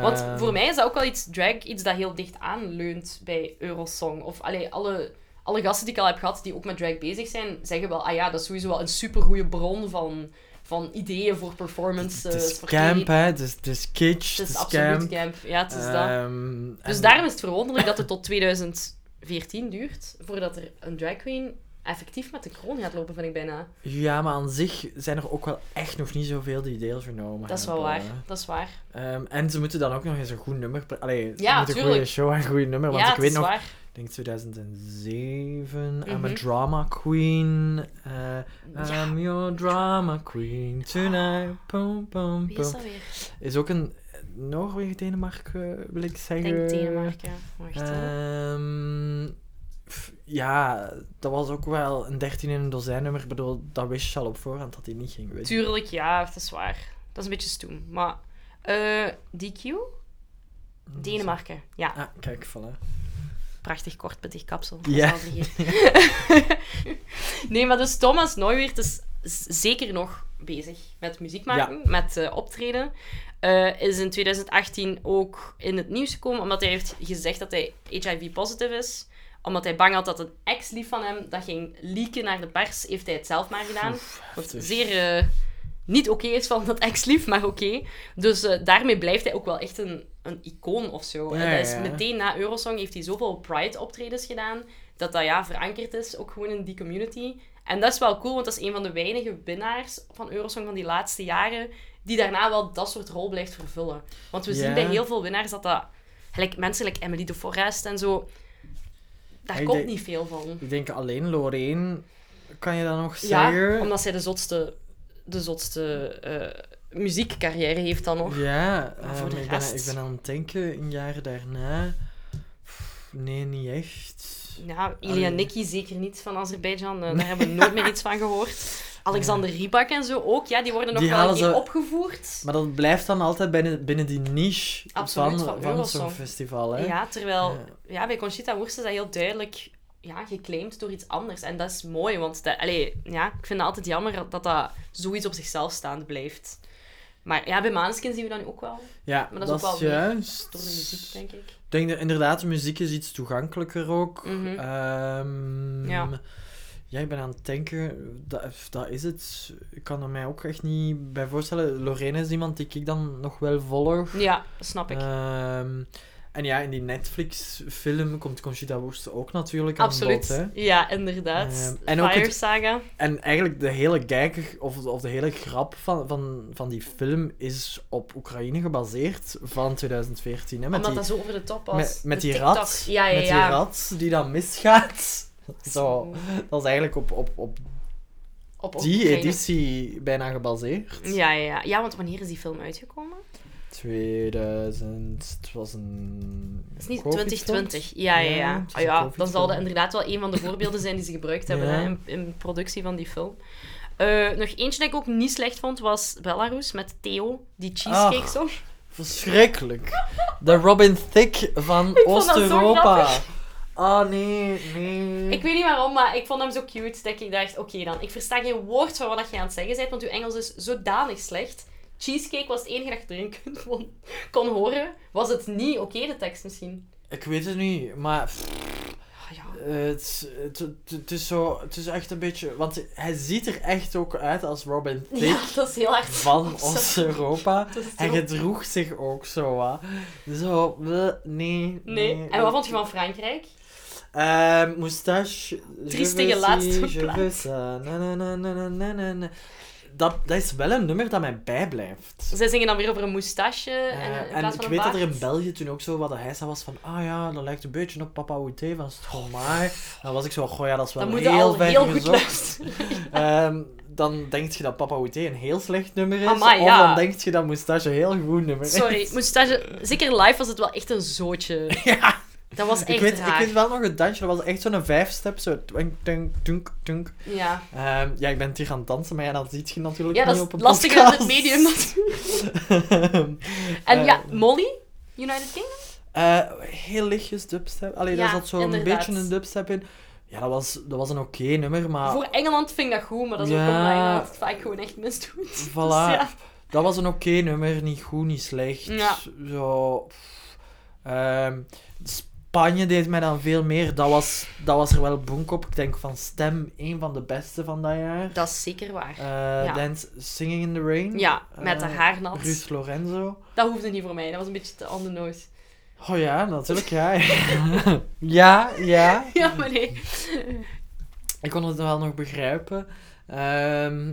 A: Want
B: Ehm,
A: voor mij is dat ook wel iets drag, iets dat heel dicht aanleunt bij Eurosong. Of allee, alle, alle gasten die ik al heb gehad die ook met drag bezig zijn, zeggen wel, ah ja, dat is sowieso wel een supergoeie bron van, van ideeën voor
B: Het is
A: performances. voor
B: camp,
A: kleding.
B: hè. Het is, het is kitsch.
A: eh, Het is
B: camp.
A: absoluut camp. Ja, het is dat.
B: Ehm,
A: Dus
B: en-
A: daarom is het verwonderlijk dat het tot 2014 duurt, voordat er een drag queen effectief met de kroon gaat lopen, vind ik bijna.
B: Ja, maar aan zich zijn er ook wel echt nog niet zoveel die deelgenomen
A: Dat is wel
B: hebben.
A: waar. Dat is waar.
B: Ehm, en ze moeten dan ook nog eens een goed nummer... pre- Allee, ze
A: Ja,
B: moeten een
A: tuurlijk.
B: goede show en een goed nummer. Want
A: ja,
B: ik weet
A: het
B: nog,
A: is
B: ik
A: waar.
B: denk 2007, I'm a
A: Mhm.
B: drama queen. eh,
A: Ja.
B: I'm your drama queen tonight. Pom, pom,
A: Wie is
B: pom.
A: dat weer?
B: Is ook een Noorwegen, Denemarken, wil ik
A: Ik
B: zeggen.
A: denk Denemarken. Wacht,
B: eh,
A: hè.
B: Ehm, pff, ja, dat was ook wel een 13 in een dozijn nummer. Ik bedoel, dat wist je al op voorhand dat hij niet ging winnen.
A: Tuurlijk, ja, dat is waar. Dat is een beetje stoem. Maar eh, DQ? Denemarken. Ja,
B: Dus- Ah, kijk, voilà.
A: prachtig kort met die kapsel.
B: Ja.
A: Ja. nee, maar dus Thomas Neuwert is z- zeker nog bezig met muziek maken, met eh, optreden. Eh, is in 2018 ook in het nieuws gekomen omdat hij heeft gezegd dat hij HIV-positief is. Omdat hij bang had dat een ex-lief van hem dat ging leaken naar de pers, heeft hij het zelf maar gedaan. Wat
B: heftig.
A: zeer eh, niet oké is van dat ex-lief, maar oké. Dus eh, daarmee blijft hij ook wel echt een, een icoon of zo.
B: Ja,
A: en dat is
B: ja.
A: meteen na Eurosong heeft hij zoveel Pride-optredens gedaan, dat dat ja, verankerd is, ook gewoon in die community. En dat is wel cool, want dat is een van de weinige winnaars van Eurosong van die laatste jaren, die daarna wel dat soort rol blijft vervullen. Want we zien
B: Ja.
A: bij heel veel winnaars dat dat... Gelijk mensen like Emily de Forest en zo, daar
B: Ik
A: komt
B: denk-
A: niet veel van.
B: Ik denk alleen Lorraine, kan je dat nog
A: Ja,
B: zeggen?
A: omdat zij de zotste, de zotste eh, muziekcarrière heeft dan nog.
B: Ja,
A: Maar voor
B: ehm,
A: de
B: ik, ben,
A: rest-
B: ik ben aan het denken, een jaar daarna. Pff, Nee, niet echt.
A: Ja,
B: Allee.
A: Ilya Nikki zeker niet van Azerbeidzjan. eh, daar hebben we nooit meer iets van gehoord. Alexander Rybak en zo ook. Ja, die worden nog
B: Die
A: wel een
B: halen
A: keer
B: ze-
A: opgevoerd.
B: Maar dat blijft dan altijd binnen, binnen die niche
A: Absoluut,
B: van,
A: van
B: van,
A: Eurosong.
B: zo'n festival. Hè?
A: Ja, terwijl
B: Ja.
A: ja. bij Conchita Wurst is dat heel duidelijk ja, geclaimd door iets anders. En dat is mooi, want dat, allee, ja, ik vind het altijd jammer dat dat zoiets op zichzelf staand blijft. Maar ja, bij Maneskin zien we dat nu ook wel.
B: Ja,
A: Maar dat is ook wel meer
B: juist.
A: Door de muziek, denk ik.
B: Ik denk dat inderdaad, de muziek is iets toegankelijker ook.
A: Mhm.
B: Ehm,
A: Ja.
B: ja, ik ben aan het denken, dat, dat is het. Ik kan er mij ook echt niet bij voorstellen. Lorraine is iemand die ik dan nog wel volg.
A: Ja, dat snap ik.
B: Ehm, en ja, in die Netflix-film komt Conchita Wurst ook natuurlijk
A: Absoluut.
B: aan bod. Hè?
A: Ja, inderdaad.
B: Ehm, en ook
A: Fire
B: het-
A: Saga.
B: En eigenlijk de hele kijker, of, of de hele grap van, van, van die film is op Oekraïne gebaseerd van 2014. Hè, met
A: Omdat
B: die,
A: dat zo over de top was.
B: met, met
A: De
B: die
A: TikTok.
B: rat.
A: Ja, ja,
B: met
A: ja.
B: die rat die dan misgaat. Zo. Dat is eigenlijk op, op, op
A: Op
B: die
A: Oekraïne.
B: editie bijna gebaseerd.
A: Ja, ja, ja. Ja, want wanneer is die film uitgekomen?
B: 2000, het was een.
A: Dat is niet
B: COVID-film.
A: 2020. Ja, ja,
B: Ja,
A: ja.
B: het is
A: Ah
B: een
A: ja, dan
B: COVID-film.
A: zal dat inderdaad wel een van de voorbeelden zijn die ze gebruikt hebben
B: Ja.
A: hè, in, in productie van die film. Eh, nog eentje dat ik ook niet slecht vond was Belarus met Theo, die cheesecake
B: Ah,
A: song.
B: Verschrikkelijk. De Robin Thicke van
A: vond dat zo
B: Oost-Europa.
A: grappig.
B: Oh nee, nee.
A: Ik weet niet waarom, maar ik vond hem zo cute dat ik dacht, oké dan, ik versta geen woord van wat je aan het zeggen bent, want uw Engels is zodanig slecht. Cheesecake was het enige dat je erin kon, kon, horen. Was het niet oké, de tekst misschien?
B: Ik weet het niet, maar pff,
A: Ah, ja.
B: eh, het, is- het, het, het is zo, het is echt een beetje, want hij ziet er echt ook uit als Robin Thicke
A: ja, dat is heel hard.
B: van
A: Zo.
B: ons Europa.
A: Dat is
B: Hij
A: zo-
B: gedroeg zich ook zo, wat. Zo, bleh, nee,
A: Nee.
B: nee.
A: En wat vond je van Frankrijk?
B: Ehm, moustache.
A: Triestige
B: je veux
A: laatste
B: si, je
A: plaats.
B: veux ça, na, na, na, na, na, na, na, na. Dat, dat is wel een nummer dat mij bijblijft.
A: Zij zingen dan weer over een moustache en,
B: Eh,
A: in
B: en
A: plaats
B: ik
A: van
B: weet
A: een
B: dat er
A: baard.
B: in België toen ook zo wat hij zei was van ah ja, dat lijkt een beetje op Papa Outé van Stromae. Dan was ik zo, goh ja, dat is wel
A: Dan moet je
B: heel
A: al
B: ver
A: heel goed
B: gezocht.
A: luisteren.
B: Ehm, dan denk je dat Papa Outé een heel slecht nummer is.
A: Amai,
B: of
A: ja.
B: dan denk je dat Moustache een heel goed nummer is.
A: Sorry, moustache... Zeker live was het wel echt een zootje.
B: Ja.
A: Dat was echt
B: Ik weet, ik
A: raar.
B: weet wel nog het dansje, dat was echt zo'n vijfstep, zo twink, twink, twink, twink.
A: Ja.
B: Ehm, ja, ik ben het hier aan het dansen, maar ja, dat ziet je natuurlijk
A: ja, dat
B: niet op
A: is
B: een
A: lastiger dan
B: podcast.
A: het medium. natuurlijk. En
B: Eh,
A: ja, Molly, United Kingdom?
B: eh, heel lichtjes dubstep. Allee,
A: Ja,
B: daar zat zo'n
A: inderdaad.
B: beetje een dubstep in. Ja, dat was, dat was een oké nummer, maar
A: Voor Engeland vind ik dat goed, maar dat is ook
B: Ah. Ja.
A: omdat Engeland het vaak gewoon echt misdoet. Dus
B: voilà.
A: ja.
B: Dat was een oké nummer, niet goed, niet slecht.
A: Ja.
B: Zo... pff. Ehm, Spanje deed mij dan veel meer. Dat was, dat was er wel bonk op. Ik denk van Stem, één van de beste van dat jaar.
A: Dat is zeker waar.
B: Eh,
A: ja.
B: Dance Singing in the Rain.
A: Ja, met haar
B: Eh,
A: haar nat.
B: Ruud Lorenzo.
A: Dat hoefde niet voor mij, dat was een beetje te on the nose.
B: Oh ja, natuurlijk, ja. ja, ja.
A: Ja, maar nee.
B: Ik kon het wel nog begrijpen. Ehm,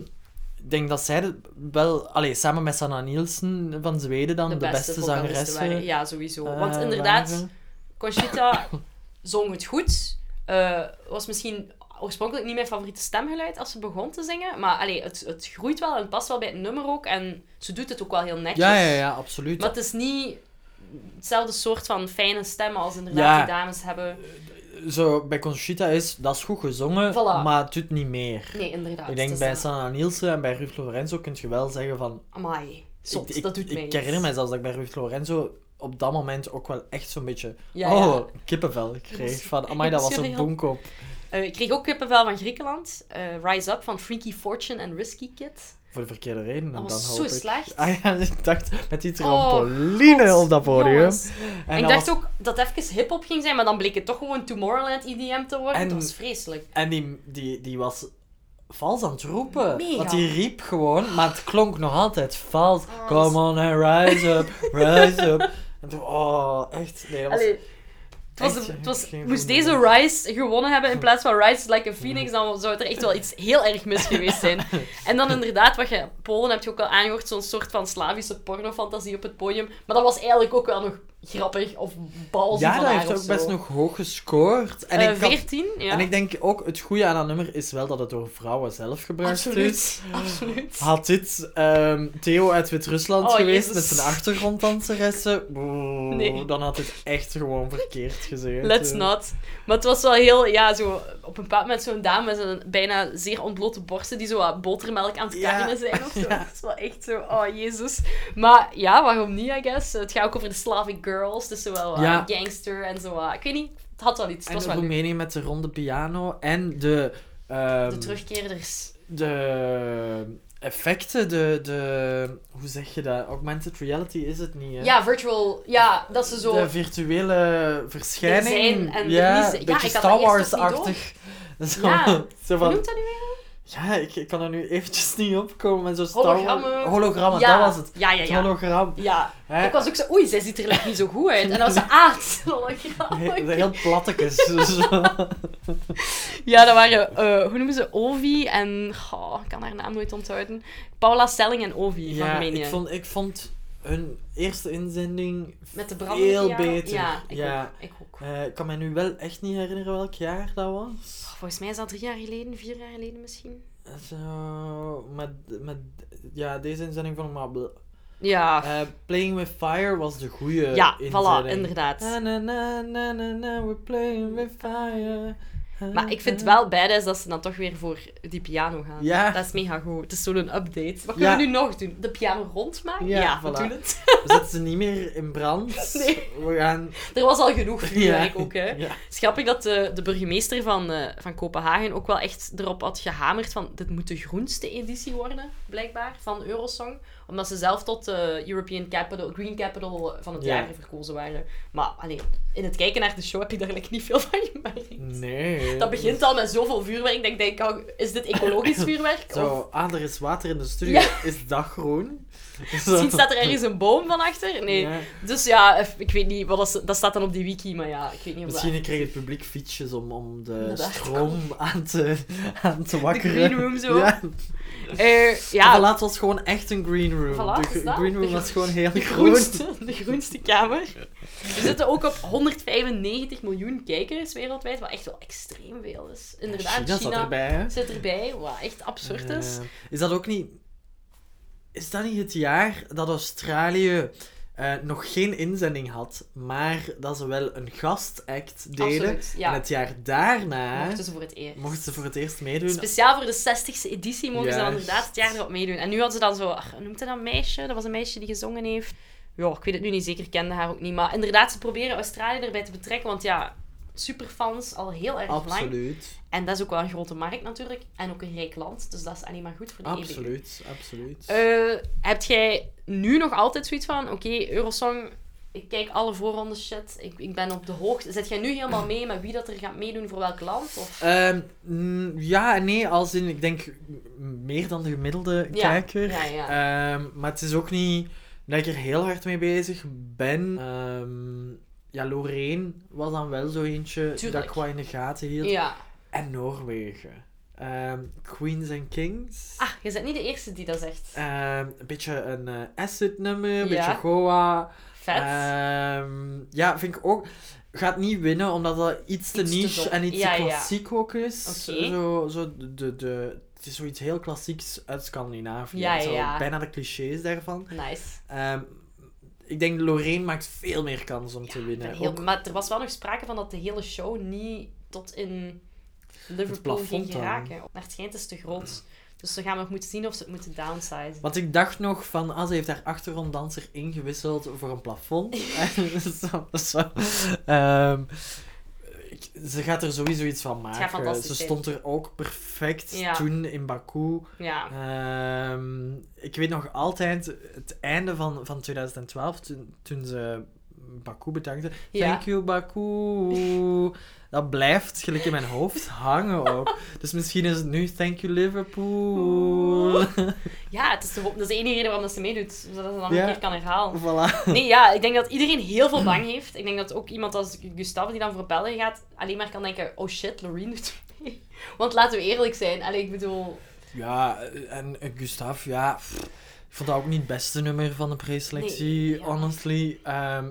B: ik denk dat zij de- wel... Allee, samen met Sanna Nielsen van Zweden dan, de, beste,
A: vocalisten
B: zangeressen.
A: waren. Ja, sowieso.
B: eh,
A: Want inderdaad,
B: waren.
A: Conchita zong het goed. Eh, was misschien oorspronkelijk niet mijn favoriete stemgeluid als ze begon te zingen. Maar allee, het, het groeit wel en het past wel bij het nummer ook. En ze doet het ook wel heel netjes.
B: Ja, ja, ja, absoluut.
A: Maar het is niet hetzelfde soort van fijne stemmen als inderdaad
B: Ja.
A: die dames hebben.
B: Zo, bij Conchita is, dat is goed gezongen,
A: Voilà.
B: maar het doet niet meer.
A: Nee, inderdaad.
B: ik denk
A: Dus
B: bij
A: dat-
B: Sanna Nielsen en bij Ruud Lorenzo kun je wel zeggen van...
A: Amai, zot,
B: ik, ik-
A: dat doet mij
B: Ik
A: iets.
B: herinner mij zelfs dat ik bij Ruud Lorenzo op dat moment ook wel echt zo'n beetje...
A: Ja, ja.
B: oh, kippenvel kreeg. Van, amai, dat was een
A: Emotioneel.
B: bonk op.
A: Eh, ik kreeg ook kippenvel van Griekenland. Eh, Rise Up van Freaky Fortune en Risky Kid.
B: Voor de verkeerde reden.
A: Dat
B: dan
A: was zo
B: hoop ik.
A: slecht. Oh,
B: Ah ja, ik dacht met die trampoline op dat podium.
A: Jongens. En ik
B: dat
A: dacht
B: was-
A: ook dat het even hip-hop ging zijn, maar dan bleek het toch gewoon Tomorrowland EDM te worden.
B: En-
A: Dat was vreselijk.
B: en die, die, die was vals aan het roepen.
A: Mega.
B: Want die riep gewoon, maar het klonk nog altijd vals.
A: Oh, dat is-
B: Come on and rise up, rise up. En toen, oh, echt. Nee, dat was...
A: Allee, het was,
B: echt
A: het was,
B: geen
A: moest
B: goede
A: deze
B: nummer.
A: Rise gewonnen hebben in plaats van Rise Like a Phoenix, dan zou het er echt wel iets heel erg mis geweest zijn. En dan inderdaad, wat je, Polen heb je ook al aangehoord, zo'n soort van Slavische pornofantasie op het podium. Maar dat was eigenlijk ook wel nog grappig of balzig
B: Ja,
A: van
B: dat
A: haar
B: heeft
A: of
B: ook
A: zo.
B: best nog hoog gescoord. En,
A: Eh,
B: ik had-
A: 14, ja.
B: en ik denk ook, het goede aan dat nummer is wel dat het door vrouwen zelf gebruikt is.
A: Absoluut. Absoluut.
B: Had dit ehm, Theo uit Wit-Rusland
A: Oh,
B: geweest
A: Jezus.
B: met zijn achtergronddanseressen, oeh,
A: Nee.
B: dan had het echt gewoon verkeerd gezeten.
A: Let's not. Maar het was wel heel, ja, zo op een bepaald moment zo'n dame met een bijna zeer ontblote borsten die zo wat botermelk aan het
B: Ja.
A: karnen zijn of zo. Dat is wel echt zo, oh jezus. Maar ja, waarom niet, I guess? Het gaat ook over de Slavic girls, dus zo wel wat
B: Ja.
A: gangster en zo. wat- Ik weet niet, het had wel iets. Het
B: En
A: was
B: de
A: wel leuk.
B: Roemenië met de ronde piano en de, ehm,
A: De terugkeerders.
B: de effecten, de, de... Hoe zeg je dat? Augmented reality is het niet, hè?
A: Ja, virtual, ja, dat ze zo...
B: De virtuele verschijning.
A: zijn en er niet
B: ja,
A: zijn. Ja,
B: een beetje
A: ik had dat
B: Star
A: eerst ook niet
B: Wars-achtig. Zo,
A: Ja.
B: zo
A: Hoe
B: van,
A: noemt dat nu weer?
B: ja ik, ik kan er nu eventjes niet opkomen. En zo Star Wars-
A: Hologrammen.
B: Hologrammen,
A: ja.
B: dat was het.
A: Ja, ja,
B: Het
A: ja.
B: hologram.
A: Ja,
B: Hè?
A: ik was ook zo, oei, zij ziet er like niet zo goed uit. En dan was ze, ah, het is een hologram.
B: Heel, heel plattekes. zo.
A: Ja, dat waren, eh, hoe noemen ze, Ovi en... Goh, ik kan haar naam nooit onthouden. Paula Stelling en Ovi van
B: ja,
A: Roemenië.
B: ik vond, ik vond hun eerste inzending
A: Met de brand.
B: veel beter.
A: Ja, ik
B: Ja.
A: ook. Ik ook.
B: Eh, ik kan me nu wel echt niet herinneren welk jaar dat was.
A: Oh, volgens mij is dat drie jaar geleden, vier jaar geleden misschien.
B: Zo, met, met ja, deze inzending van Mabel.
A: Ja,
B: Eh Playing with Fire was de goede
A: ja
B: inzending.
A: voilà, inderdaad.
B: Na, na, na, na, na, na, we're playing with fire.
A: Maar ik vind wel badass dat ze dan toch weer voor die piano gaan.
B: Ja.
A: Dat is mega goed. Het is zo'n update. Wat
B: Ja.
A: kunnen we nu nog doen? De piano rondmaken?
B: Ja,
A: Ja,
B: voilà.
A: we doen het.
B: We zetten ze niet meer in brand.
A: Nee.
B: We gaan...
A: Er was al genoeg vuurwerk ook, hè.
B: Ja.
A: Het is grappig dat de, de burgemeester van, eh, van Kopenhagen ook wel echt erop had gehamerd van dit moet de groenste editie worden, blijkbaar, van Eurosong. Omdat ze zelf tot de European Capital, Green Capital van het
B: Ja.
A: jaar verkozen waren. Maar allee, in het kijken naar de show heb je daar eigenlijk niet veel van gemerkt.
B: Nee.
A: Dat begint al met zoveel vuurwerk dat ik denk, oh, is dit ecologisch vuurwerk? Of
B: Zo, ah, er is water in de studio.
A: Ja.
B: Is dat groen?
A: misschien staat er ergens een boom van achter? Nee.
B: Ja.
A: Dus ja, ik weet niet, wat dat, ze- dat staat dan op die wiki, maar ja, ik weet niet of dat...
B: Misschien kreeg het publiek fietsjes om, om de
A: Inderdaad.
B: stroom aan te, aan te wakkeren.
A: green room zo.
B: Ja.
A: Eh,
B: Ja.
A: ja,
B: Voilà, het was gewoon echt een green room.
A: Voilà,
B: de
A: is dat?
B: green room
A: De
B: was
A: gro-
B: gewoon heel
A: De
B: groen.
A: groenste, de groenste kamer. We zitten ook op 195 miljoen kijkers wereldwijd, wat echt wel extreem veel is. Inderdaad, China,
B: China zat erbij, hè?
A: zit erbij, wat echt absurd is.
B: Eh, is dat ook niet... Is dat niet het jaar dat Australië eh, nog geen inzending had, maar dat ze wel een gastact deden?
A: Absoluut, ja.
B: En het jaar daarna
A: Mochten ze voor het eerst.
B: mochten ze voor het eerst meedoen.
A: Speciaal voor de 60ste editie mogen ze dan
B: Juist.
A: inderdaad het jaar erop meedoen. En nu hadden ze dan zo, ach, hoe noemt dat dat meisje? Dat was een meisje die gezongen heeft. Ja, ik weet het nu niet zeker, ik kende haar ook niet. Maar inderdaad, ze proberen Australië erbij te betrekken, want ja, superfans al heel erg lang.
B: Absoluut.
A: En dat is ook wel een grote markt natuurlijk. En ook een rijk land. Dus dat is alleen maar goed voor de E eeuwige.
B: Absoluut, absoluut.
A: Eh, heb jij nu nog altijd zoiets van... Oké, Eurosong, ik kijk alle voorrondes shit. Ik, ik ben op de hoogte. Zet jij nu helemaal mee met wie dat er gaat meedoen voor welk land? Of...
B: Ehm, mm, ja en nee, als in, ik denk m- meer dan de gemiddelde
A: Ja,
B: kijker.
A: ja,
B: Ehm, maar het is ook niet dat ik er heel hard mee bezig ben. Ehm, ja, Loreen was dan wel zo eentje dat
A: Tuurlijk.
B: ik wat in de gaten hield.
A: Ja.
B: En Noorwegen. Ehm, Queens and Kings.
A: Ah, je bent niet de eerste die dat zegt.
B: Ehm, een beetje een eh, acid nummer, een
A: Ja.
B: beetje Goa.
A: Vet.
B: Ehm, ja, vind ik ook. Gaat niet winnen, omdat dat iets te
A: Iets te
B: niche
A: dom.
B: en iets
A: Ja,
B: te
A: ja.
B: klassiek ook is.
A: Oké.
B: Zo, zo de, de, de- het is zoiets heel klassieks uit Scandinavië.
A: Ja, ja,
B: Zo
A: ja.
B: bijna de clichés daarvan.
A: Nice.
B: Ehm, ik denk Lorraine maakt veel meer kans om te
A: Ik
B: winnen.
A: ben heel-
B: Ook
A: Maar er was wel nog sprake van dat de hele show niet tot in Liverpool
B: plafond
A: ging
B: dan.
A: geraken. Maar het schijnt is te groot. Dus we gaan nog moeten zien of ze het moeten downsizen.
B: Want ik dacht nog van, ah, ze heeft haar achtergronddanser ingewisseld voor een plafond. Zo, zo. Ehm, ik- ze gaat er sowieso iets van
A: gaat
B: maken.
A: fantastisch
B: Ze
A: zijn.
B: stond er ook perfect
A: Ja.
B: toen in Baku.
A: Ja.
B: Ehm, ik weet nog altijd het einde van, van 2012, toen, toen ze Baku bedankte.
A: Ja.
B: Thank you, Baku. Dat blijft gelijk in mijn hoofd hangen ook. Dus misschien is het nu Thank you, Liverpool.
A: Ja, het is de, ho- dat is de enige reden waarom dat ze meedoet. Zodat ze dan
B: Ja.
A: een keer kan herhalen.
B: voilà.
A: Nee, ja, ik denk dat iedereen heel veel bang heeft. Ik denk dat ook iemand als Gustave die dan voor België gaat, alleen maar kan denken, oh shit, Loreen doet mee. Want laten we eerlijk zijn, allee, ik bedoel...
B: Ja, en eh, Gustav, ja. pff, Ik vond dat ook niet het beste nummer van de preselectie,
A: Nee, ja.
B: honestly. Ehm,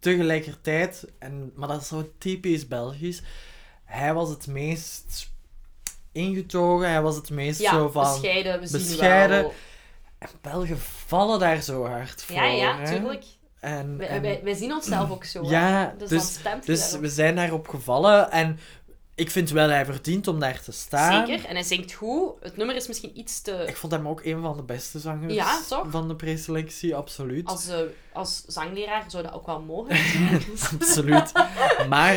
B: tegelijkertijd, en, maar dat is zo typisch Belgisch. Hij was het meest ingetogen, hij was het meest
A: Ja,
B: zo van.
A: bescheiden, we zien
B: bescheiden.
A: wel.
B: En Belgen vallen daar zo hard voor.
A: Ja, ja,
B: hè.
A: tuurlijk.
B: En,
A: Wij,
B: en-
A: wij, wij zien onszelf ook zo. hè.
B: Ja,
A: dus,
B: dus-
A: dan stemt je
B: dus
A: daarop.
B: we zijn daarop gevallen en ik vind wel, hij verdient om daar te staan.
A: Zeker, en hij zingt goed. Het nummer is misschien iets te...
B: Ik vond hem ook een van de beste zangers
A: Ja, toch?
B: van de preselectie, absoluut.
A: Als, eh, als zangleraar zou dat ook wel mogen.
B: Absoluut. Maar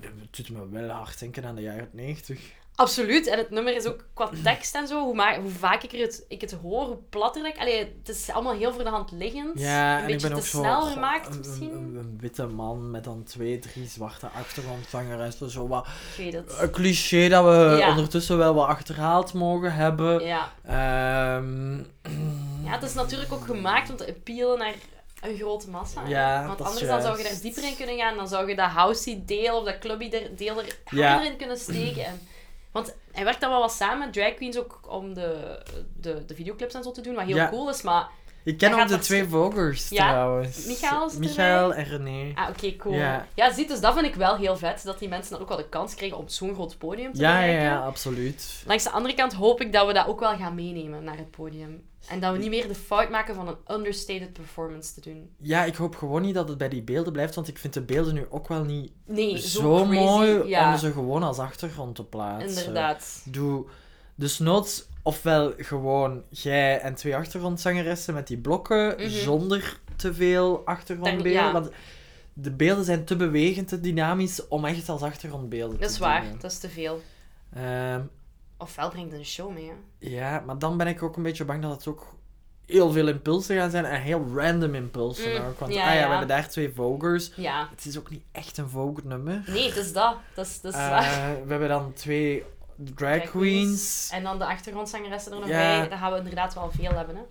B: het doet me wel hard denken aan de jaren 90.
A: Absoluut, en het nummer is ook qua tekst en zo, hoe, maar, hoe vaak ik het, ik het hoor, hoe platter dat ik... Allee, het is allemaal heel voor de hand liggend.
B: Ja,
A: een
B: en ik
A: beetje
B: ben ook
A: te
B: zo.
A: snel
B: goh,
A: gemaakt
B: een- een-
A: misschien.
B: Een, een witte man met dan twee, drie zwarte achtergrondzangeressen. Zo wat.
A: Ik weet het.
B: Een cliché dat we
A: Ja.
B: ondertussen wel wat achterhaald mogen hebben.
A: Ja.
B: Ehm,
A: ja, het is natuurlijk ook gemaakt om te appealen naar een grote massa.
B: Ja,
A: Want
B: dat is
A: anders dan zou je
B: juist.
A: daar dieper in kunnen gaan. Dan zou je dat housey deel of dat clubby der- deel er
B: Ja.
A: harder in kunnen steken. En, want hij werkt dan wel wat samen met drag queens ook om de, de, de videoclips en zo te doen, wat heel
B: Ja.
A: cool is. Maar
B: Ik ken
A: Hij
B: ook
A: gaat
B: de
A: er
B: twee
A: zo-
B: vogels
A: Ja,
B: trouwens.
A: Michael is erbij.
B: Michael en René.
A: Ah, oké, cool.
B: Ja.
A: Ja. ziet, dus dat vind ik wel heel vet, dat die mensen dan ook wel de kans krijgen op zo'n groot podium te
B: Ja, ja,
A: bereiken.
B: ja, absoluut.
A: Langs de andere kant hoop ik dat we dat ook wel gaan meenemen naar het podium. En dat we niet meer de fout maken van een understated performance te doen.
B: Ja, ik hoop gewoon niet dat het bij die beelden blijft, want ik vind de beelden nu ook wel niet
A: Nee,
B: zo,
A: zo, crazy.
B: mooi
A: ja,
B: om ze gewoon als achtergrond te plaatsen.
A: Inderdaad.
B: Doe dus noods ofwel gewoon jij en twee achtergrondzangeressen met die blokken,
A: Mhm.
B: zonder te veel achtergrondbeelden.
A: Daar- ja.
B: Want de beelden zijn te bewegend, te dynamisch, om echt als achtergrondbeelden
A: Dat
B: te
A: is waar,
B: dienen.
A: dat is te veel.
B: Ehm,
A: Ofwel brengt het een show mee, hè.
B: ja, maar dan ben ik ook een beetje bang dat het ook heel veel impulsen gaan zijn en heel random impulsen
A: Mm,
B: ook. Want
A: ja,
B: ah ja,
A: ja.
B: we hebben daar twee vogels.
A: Ja.
B: Het is ook niet echt een vogelnummer.
A: Nee, het is dat. Dat is, dat is
B: Eh,
A: waar.
B: we hebben dan twee drag
A: Drag queens.
B: queens.
A: En dan de achtergrondzangeressen er nog
B: Ja.
A: bij. Daar gaan we inderdaad wel veel hebben, hè.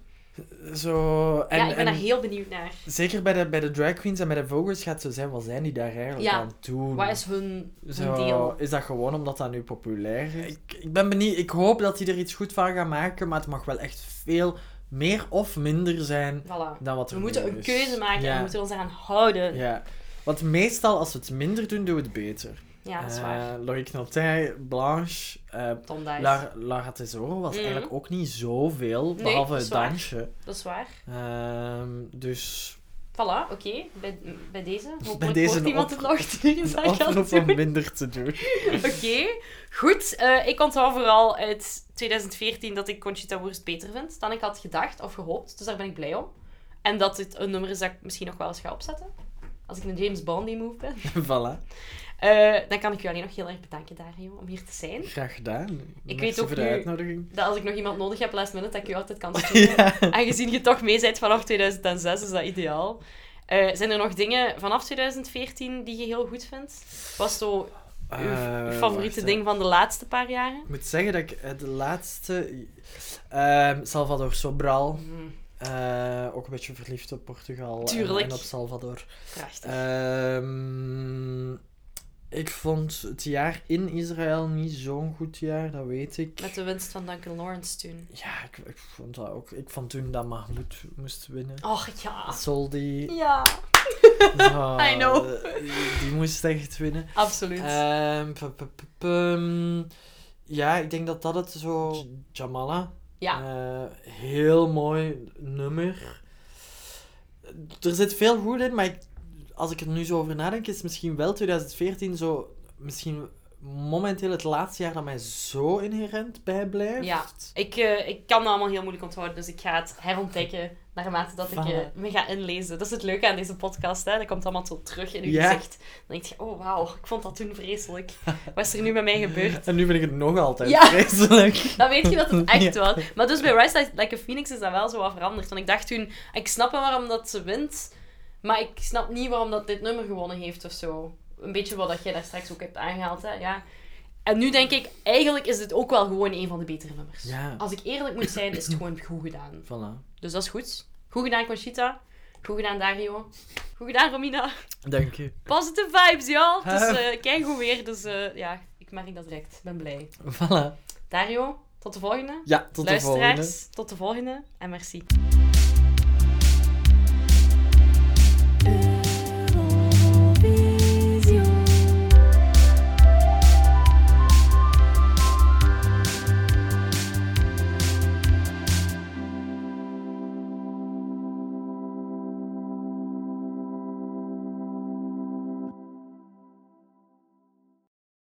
B: Zo, en,
A: ja, ik ben
B: en
A: daar heel benieuwd naar.
B: zeker bij de, bij de drag queens en bij de vogels gaat het zo zijn, wat zijn die daar eigenlijk
A: Ja.
B: aan het doen?
A: Wat is hun, hun
B: zo,
A: deel?
B: Is dat gewoon omdat dat nu populair is? Ik, ik ben benieuwd, ik hoop dat die er iets goed van gaan maken, maar het mag wel echt veel meer of minder zijn
A: Voilà.
B: dan wat er
A: We moeten
B: nu
A: een
B: is.
A: keuze maken en
B: Ja.
A: we moeten ons eraan houden. Ja,
B: Ja. Want meestal, als we het minder doen, doen we het beter.
A: dat is waar.
B: Eh, Loïc Notay, Blanche, eh,
A: Tom Dice.
B: Lara, Lara Tesoro was
A: Mhm.
B: eigenlijk ook niet zoveel,
A: Nee,
B: behalve
A: dat is
B: het
A: waar.
B: dansje.
A: Dat is waar.
B: Ehm, dus
A: Voilà, oké. Bij, bij deze. Hopelijk
B: Bij deze
A: hoort
B: een
A: iemand
B: op-
A: het nog die dat
B: een
A: gaat
B: oproep
A: doen.
B: om minder te doen.
A: Oké, goed. Eh, ik onthoud vooral uit 2014 dat ik Conchita Wurst beter vind dan ik had gedacht of gehoopt. Dus daar ben ik blij om. En dat dit een nummer is dat ik misschien nog wel eens ga opzetten. Als ik een James Bondy move ben.
B: voilà,
A: Eh, dan kan ik u alleen nog heel erg bedanken, Dario, om hier te zijn.
B: graag gedaan. Merci
A: weet ook
B: voor de
A: nu-
B: uitnodiging.
A: Dat als ik nog iemand nodig heb last minute, dat ik u altijd kan sturen. Aangezien je toch mee bent vanaf 2006, is dat ideaal. Eh, zijn er nog dingen vanaf 2014 die je heel goed vindt? Was zo uw
B: Eh,
A: favoriete
B: wacht, hè.
A: ding van de laatste paar jaren?
B: Ik moet zeggen dat ik eh, de laatste... ehm, Salvador Sobral.
A: Hmm,
B: eh, ook een beetje verliefd op Portugal en-
A: Tuurlijk.
B: en op Salvador.
A: Prachtig.
B: Ehm, ik vond het jaar in Israël niet zo'n goed jaar, dat weet ik.
A: Met de winst van Duncan Lawrence toen.
B: Ja, ik, ik vond dat ook. Ik vond toen dat Mahmoud moest winnen.
A: Och ja.
B: Soldi.
A: Ja,
B: zo,
A: Ah. I know.
B: eh, Die moest echt winnen.
A: absoluut.
B: Ehm, pu- pu- pu- pum. ehm, ja, ik denk dat dat het zo... J- Jamala.
A: ja,
B: Eh, heel mooi nummer. Er zit veel goed in, maar ik- als ik er nu zo over nadenk, is misschien wel 2014 zo... Misschien momenteel het laatste jaar dat mij zo inherent bijblijft.
A: Ja. ik, eh, ik kan dat allemaal heel moeilijk onthouden, dus ik ga het herontdekken naarmate dat ik eh,
B: Voilà.
A: me ga inlezen. Dat is het leuke aan deze podcast, hè. Dat komt allemaal zo terug in uw
B: Ja.
A: gezicht. Dan denk je, oh wauw, ik vond dat toen vreselijk. Wat is er nu met mij gebeurd?
B: En nu vind ik het nog altijd
A: Ja.
B: vreselijk.
A: Dan weet je dat het echt
B: Ja.
A: wel. Maar dus bij Rise Like- Like a Phoenix is dat wel zo wat veranderd. Want ik dacht toen, ik snap wel waarom dat ze wint, maar ik snap niet waarom dat dit nummer gewonnen heeft of zo. Een beetje wat dat jij daar straks ook hebt aangehaald, hè. Ja. En nu denk ik, eigenlijk is dit ook wel gewoon een van de betere nummers.
B: Ja.
A: Als ik eerlijk moet zijn, is het gewoon goed gedaan.
B: Voilà.
A: Dus dat is goed. Goed gedaan, Conchita. Goed gedaan, Dario. Goed gedaan, Romina.
B: Dank je.
A: Positive vibes, joh. Het is eh kijk goed weer, dus eh, ja, ik merk dat direct. Ik ben blij.
B: Voilà.
A: Dario, tot de volgende.
B: Ja, tot de
A: Luisteraars,
B: volgende.
A: tot de volgende en merci.